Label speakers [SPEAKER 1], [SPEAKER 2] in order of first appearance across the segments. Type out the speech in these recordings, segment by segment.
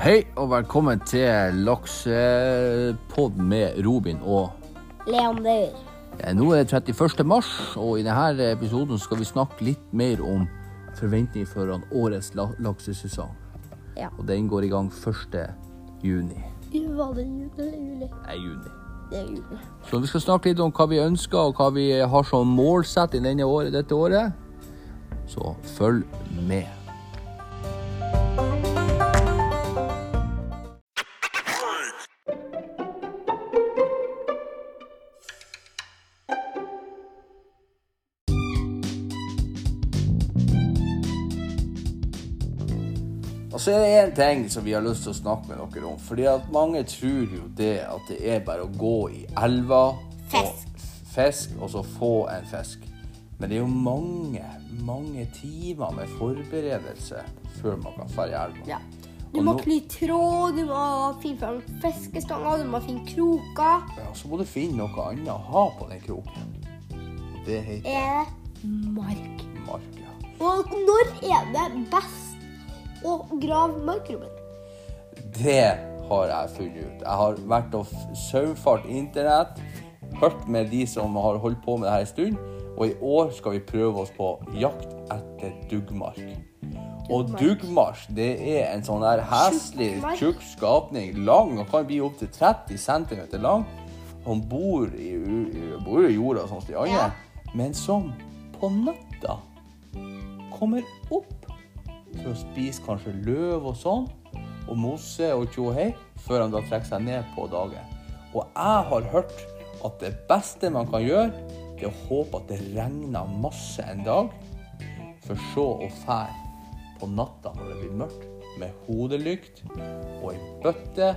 [SPEAKER 1] Hei og velkommen til Laksepod med Robin og
[SPEAKER 2] Leander.
[SPEAKER 1] Eh, Nå er det 31. mars, og i denne episoden skal vi snakke litt mer om forventninger foran årets la laksesesong.
[SPEAKER 2] Ja.
[SPEAKER 1] Og den går i gang 1. juni.
[SPEAKER 2] Var det jul eller juli?
[SPEAKER 1] Nei, juni.
[SPEAKER 2] Det er juli.
[SPEAKER 1] Så vi skal snakke litt om hva vi ønsker, og hva vi har som målsett i denne året, dette året. Så følg med. Og så Altså, er det én ting som vi har lyst til å snakke med dere om. fordi at mange tror jo det at det er bare å gå i elva
[SPEAKER 2] Fisk.
[SPEAKER 1] Og, fisk, og så få en fisk. Men det er jo mange, mange timer med forberedelse før man kan dra i elva.
[SPEAKER 2] Ja.
[SPEAKER 1] Og
[SPEAKER 2] Du må
[SPEAKER 1] nå-
[SPEAKER 2] kly tråd, du må finne fram fiskestanger, du må finne kroker.
[SPEAKER 1] Ja, så må du finne noe annet å ha på den kroken. Og Det heter
[SPEAKER 2] Er det mark?
[SPEAKER 1] mark. ja.
[SPEAKER 2] Og når er det best å grave markrommet?
[SPEAKER 1] Det har jeg funnet ut. Jeg har vært og f- saumfart internett, hørt med de som har holdt på med det her en stund, og i år skal vi prøve oss på jakt etter duggmark. Og duggmark, det er en sånn der heslig,
[SPEAKER 2] Tjukkmark.
[SPEAKER 1] tjukk skapning, lang og kan bli opptil 30 cm lang, som bor i, u- i, bor i jorda sånn som de andre,
[SPEAKER 2] Ja.
[SPEAKER 1] men som på natta kommer opp for å spise kanskje løv og sånn, og mose og tjohei, før han da trekker seg ned på dagen. Og jeg har hørt at det beste man kan gjøre, det er å håpe at det regner masse en dag, for så å fære på natta når det blir mørkt, med hodelykt og ei bøtte,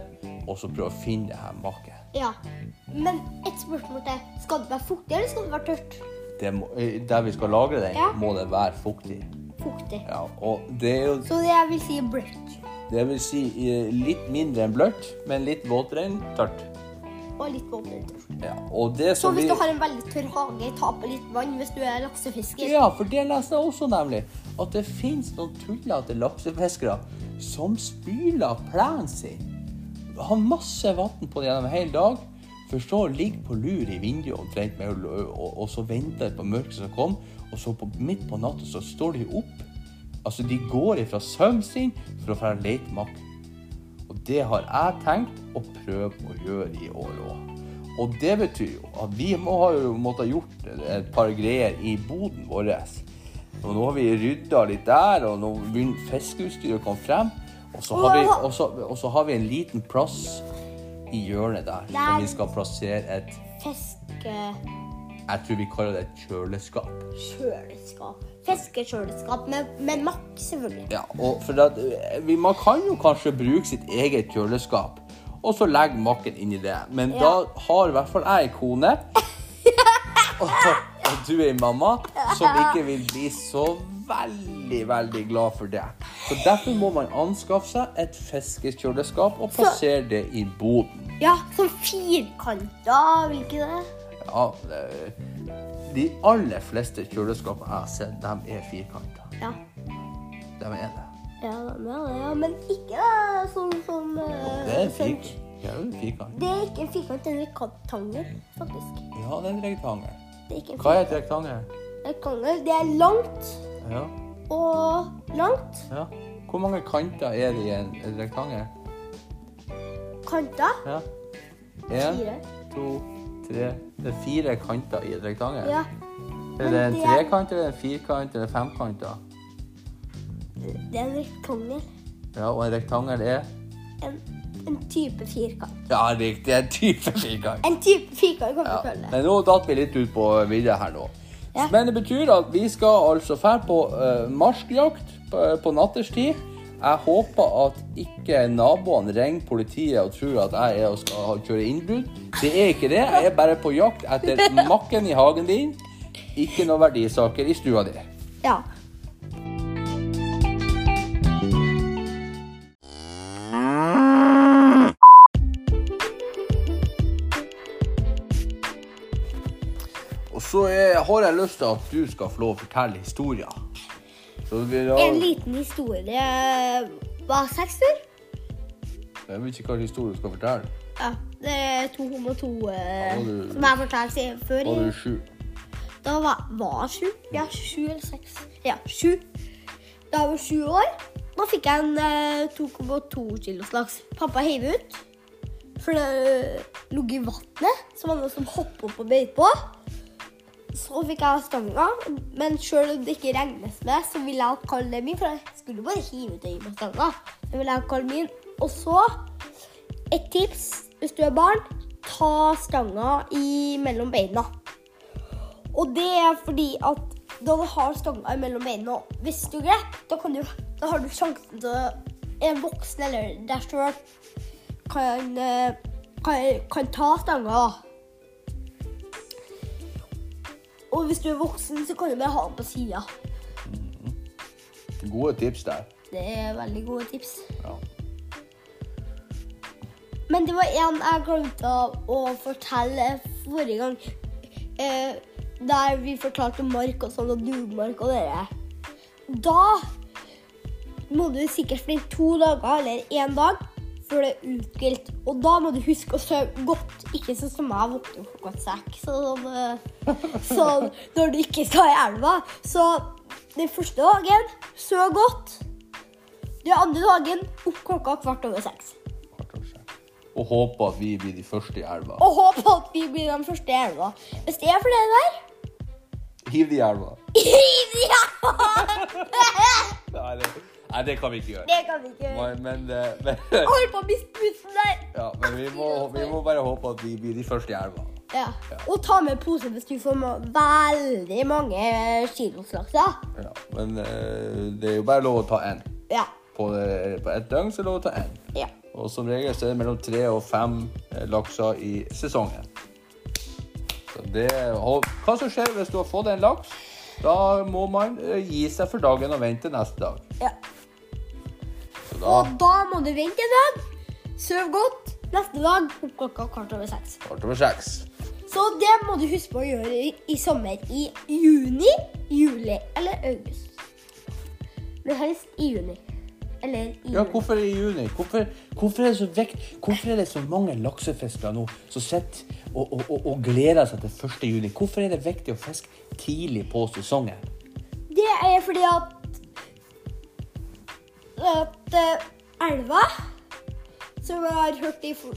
[SPEAKER 1] og så prøve å finne det her maket.
[SPEAKER 2] Ja. Men et spørsmål til. Skal det være fuktig, eller skal det være tørt?
[SPEAKER 1] Det må, eh, der vi skal lagre den,
[SPEAKER 2] Ja.
[SPEAKER 1] må det være fuktig.
[SPEAKER 2] Fuktig.
[SPEAKER 1] Ja, og det er jo
[SPEAKER 2] Så jeg vil si bløtt.
[SPEAKER 1] Det vil si eh, litt mindre enn blørt, men litt våtere enn tørt.
[SPEAKER 2] Og litt våtere tørt.
[SPEAKER 1] Ja, og det
[SPEAKER 2] Så
[SPEAKER 1] som
[SPEAKER 2] hvis
[SPEAKER 1] vi-
[SPEAKER 2] du har en veldig tørr hage, ta på litt vann hvis du er laksefisker.
[SPEAKER 1] Ja, for det leste jeg også, nemlig. At det fins noen tullete laksefiskere som spyler plenen sin. Har masse vann på det gjennom en hel dag. For så å ligge på lur i vinduet omtrent med hull og øye, og, og så venter på mørket som kom, og så på, midt på natta så står de opp. Altså, de går ifra søvnen sin for å dra og lete makk. Og det har jeg tenkt å prøve å gjøre i år òg. Og det betyr jo at vi må ha jo måttet gjort et par greier i boden vår. Og nå har vi rydda litt der, og nå begynner fiskeutstyret å komme frem. Og så har vi, og så, og så har vi en liten plass i hjørnet der,
[SPEAKER 2] Der.
[SPEAKER 1] som vi skal plassere et
[SPEAKER 2] Fiske...
[SPEAKER 1] Jeg tror vi kaller det et kjøleskap.
[SPEAKER 2] kjøleskap. Fiskekjøleskap med, med makk, selvfølgelig.
[SPEAKER 1] Ja, og for at, eh, vi- Man kan jo kanskje bruke sitt eget kjøleskap, og så legge makken inni det. Men da har i hvert fall jeg en kone, og, og du er en mamma, som ikke vil bli så veldig, veldig glad for det. Så Derfor må man anskaffe seg et fiskekjøleskap og plassere det i boden.
[SPEAKER 2] Ja, sånn firkanter, vil ikke det?
[SPEAKER 1] Ja, det- de aller fleste kjøleskapene jeg har sett, de er firkanta.
[SPEAKER 2] Ja.
[SPEAKER 1] De er det.
[SPEAKER 2] Ja, ja, ja, men ikke det sånn som eh,
[SPEAKER 1] Det er
[SPEAKER 2] sånn-
[SPEAKER 1] firkant. Det er jo en firkant.
[SPEAKER 2] Det er ikke en firkant, det er en rektangel, faktisk.
[SPEAKER 1] Ja, det er en rektangel.
[SPEAKER 2] Det er ikke en
[SPEAKER 1] Hva
[SPEAKER 2] firkant.
[SPEAKER 1] er et rektangel?
[SPEAKER 2] Rektangel, det er langt
[SPEAKER 1] Ja,
[SPEAKER 2] og langt.
[SPEAKER 1] ja. Hvor mange kanter er det i en en rektangel?
[SPEAKER 2] Kanter.
[SPEAKER 1] Ja. En,
[SPEAKER 2] Fire.
[SPEAKER 1] to, tre. Det er fire kanter i et rektangel.
[SPEAKER 2] Ja.
[SPEAKER 1] Er
[SPEAKER 2] men
[SPEAKER 1] det en
[SPEAKER 2] det-
[SPEAKER 1] trekant, eller en firkant, eller femkant? da?
[SPEAKER 2] Det er en rektangel.
[SPEAKER 1] Ja, og en rektangel er
[SPEAKER 2] En, en type firkant.
[SPEAKER 1] Ja, riktig, en type firkant.
[SPEAKER 2] En type firkant kan vi
[SPEAKER 1] Ja.
[SPEAKER 2] kalle det.
[SPEAKER 1] Men nå datt vi litt ut på vidda her nå.
[SPEAKER 2] Ja.
[SPEAKER 1] Men det betyr at vi skal altså dra på eh, marskjakt på, eh, på natterstid. Jeg håper at ikke naboene ringer politiet og tror at jeg er og skal ha- kjøre innbrudd. Det er ikke det. Jeg er bare på jakt etter makken i hagen din. Ikke noe verdisaker i stua di.
[SPEAKER 2] Ja.
[SPEAKER 1] Og så eh, har jeg lyst til at du skal få lov å fortelle historier. Så vi da-
[SPEAKER 2] En liten historie. Hva, seks år?
[SPEAKER 1] Jeg vet ikke hva historie du skal fortelle.
[SPEAKER 2] Ja, det er to homo to eh,
[SPEAKER 1] Ja, du-
[SPEAKER 2] som jeg fortalte seg før.
[SPEAKER 1] Var
[SPEAKER 2] i-
[SPEAKER 1] du sju?
[SPEAKER 2] Da var, var jeg sju. Ja, sju eller seks. Ja, sju. Da jeg var sju år, da fikk jeg en eh, 2,2 kilos laks. Pappa heiv ut, for det eh, lå i vannet, så var det noen som hoppet opp og beit på. Så fikk jeg stanga, men sjøl om det ikke regnes med, så ville jeg kalle det min, for jeg skulle bare hive ut øyet med stanga. Så ville jeg kalle min. Og så et tips hvis du er barn, ta stanga i mellom beina. Og det er fordi at da du har stanga mellom beina, og hvis du grep, da, kan du, da har du sjansen til å En voksen eller deg sjøl kan, eh, kan, kan ta stanga. Og hvis du er voksen, så kan du bare ha den på sida.
[SPEAKER 1] Gode tips der.
[SPEAKER 2] Det er veldig gode tips.
[SPEAKER 1] Ja.
[SPEAKER 2] Men det var en jeg glemte å fortelle forrige gang. Eh, der vi fortalte om mark og sånn, og dugmark og dere. Da må du sikkert springe to dager eller én dag før det er uthvilt. Og da må du huske å sove godt, ikke sånn som jeg våkner klokka seks. Sånn, eh, sånn når du ikke skal i elva. Så den første dagen sov godt. Den andre dagen opp klokka kvart over seks.
[SPEAKER 1] Kvart over seks. Og håpe at vi blir de første i elva.
[SPEAKER 2] og håpe at vi blir den første i elva. Hvis det er for det der
[SPEAKER 1] Hiv de i elva.
[SPEAKER 2] ja!
[SPEAKER 1] Nei det, nei, det kan vi ikke gjøre.
[SPEAKER 2] Det kan vi ikke gjøre.
[SPEAKER 1] Men, men, eh, men,
[SPEAKER 2] Hold på å miste bussen der.
[SPEAKER 1] ja, men vi, må, vi må bare håpe at vi blir de første i elva.
[SPEAKER 2] Ja. Og ta med pose hvis du får ma- veldig mange kiloslakser.
[SPEAKER 1] Ja, men eh, det er jo bare lov å ta én.
[SPEAKER 2] Ja.
[SPEAKER 1] På, eh, på ett døgn så er det lov å ta én.
[SPEAKER 2] ja.
[SPEAKER 1] Og som regel så er det mellom tre og fem eh, lakser i sesongen. Så det, og hva som skjer hvis du har fått en laks? Da må man eh, gi seg for dagen og vente til neste dag.
[SPEAKER 2] ja.
[SPEAKER 1] Så da
[SPEAKER 2] Og da må du vente en dag. Sov godt. Neste dag opp klokka kvart over seks.
[SPEAKER 1] kvart over seks.
[SPEAKER 2] Så det må du huske på å gjøre i, i sommer. I juni, juli eller august. Men helst i juni. Eller i
[SPEAKER 1] Ja,
[SPEAKER 2] juli.
[SPEAKER 1] hvorfor i juni? Hvorfor, hvorfor, er det så vekt, hvorfor er det så mange laksefiskere nå som sitter og, og, og, og gleder seg til 1. juni? Hvorfor er det viktig å fiske tidlig på sesongen?
[SPEAKER 2] Det er fordi at at eh, elva, som jeg har hørt i for,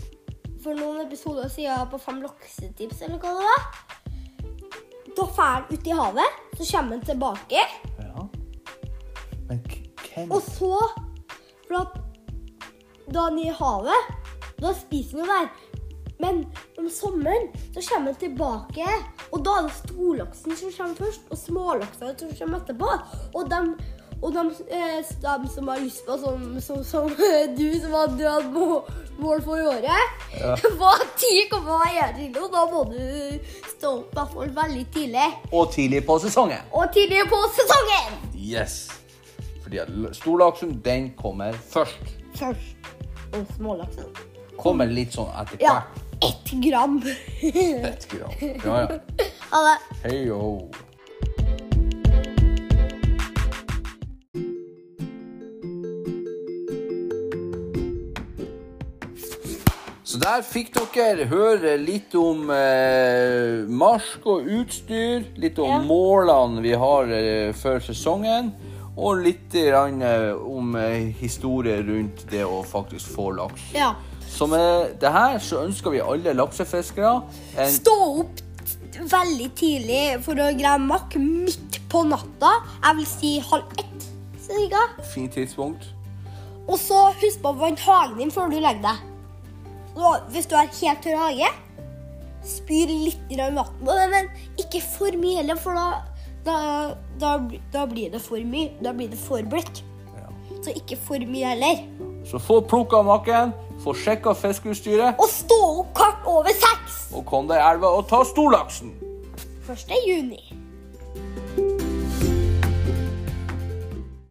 [SPEAKER 2] for noen episoder siden på Fem laksetips, eller hva det var, da fer den ut i havet, så kommer den tilbake,
[SPEAKER 1] Ja. Men k- hvem
[SPEAKER 2] og så For at da den er i havet, da spiser den jo der. Men om sommeren så kommer den tilbake, og da er det storlaksen som kommer først, og smålaksa som kommer etterpå. Og dem, og dem, eh, dem som har lyst på, som, som, som eh, du som hadde, du hadde må, mål for i året, var 10,1 kilo. Da må du stå opp i hvert fall veldig tidlig.
[SPEAKER 1] Og tidlig på sesongen!
[SPEAKER 2] Og tidlig på sesongen!
[SPEAKER 1] Yes! Fordi at l- storlaksen, den kommer først.
[SPEAKER 2] Først. Og smålaksen.
[SPEAKER 1] Kommer litt sånn etter
[SPEAKER 2] Ja,
[SPEAKER 1] hvert.
[SPEAKER 2] ett gram.
[SPEAKER 1] Ett gram. Ja, ja.
[SPEAKER 2] ha det.
[SPEAKER 1] Hei og ho. Så der fikk dere høre litt om eh, marsk og utstyr, litt om
[SPEAKER 2] Ja.
[SPEAKER 1] målene vi har eh, før sesongen, og litt grann, eh, om eh, historie rundt det å faktisk få laks.
[SPEAKER 2] Ja.
[SPEAKER 1] Så med det her så ønsker vi alle laksefiskere en
[SPEAKER 2] Stå opp t- veldig tidlig for å greie makk midt på natta. Jeg vil si halv ett. Cirka.
[SPEAKER 1] fin tidspunkt.
[SPEAKER 2] Og så husk på å vanne hagen din før du legger deg. Og hvis du har helt tørr hage, spyr litt vann på den, men ikke for mye heller, for da, da, da, bli- da blir det for mye. Da blir det for bløtt.
[SPEAKER 1] Ja.
[SPEAKER 2] Så ikke for mye heller.
[SPEAKER 1] Så få plukka makken, få sjekka fiskeutstyret,
[SPEAKER 2] Og stå opp kvart over seks
[SPEAKER 1] og kom deg i elva og ta storlaksen!
[SPEAKER 2] 1. juni.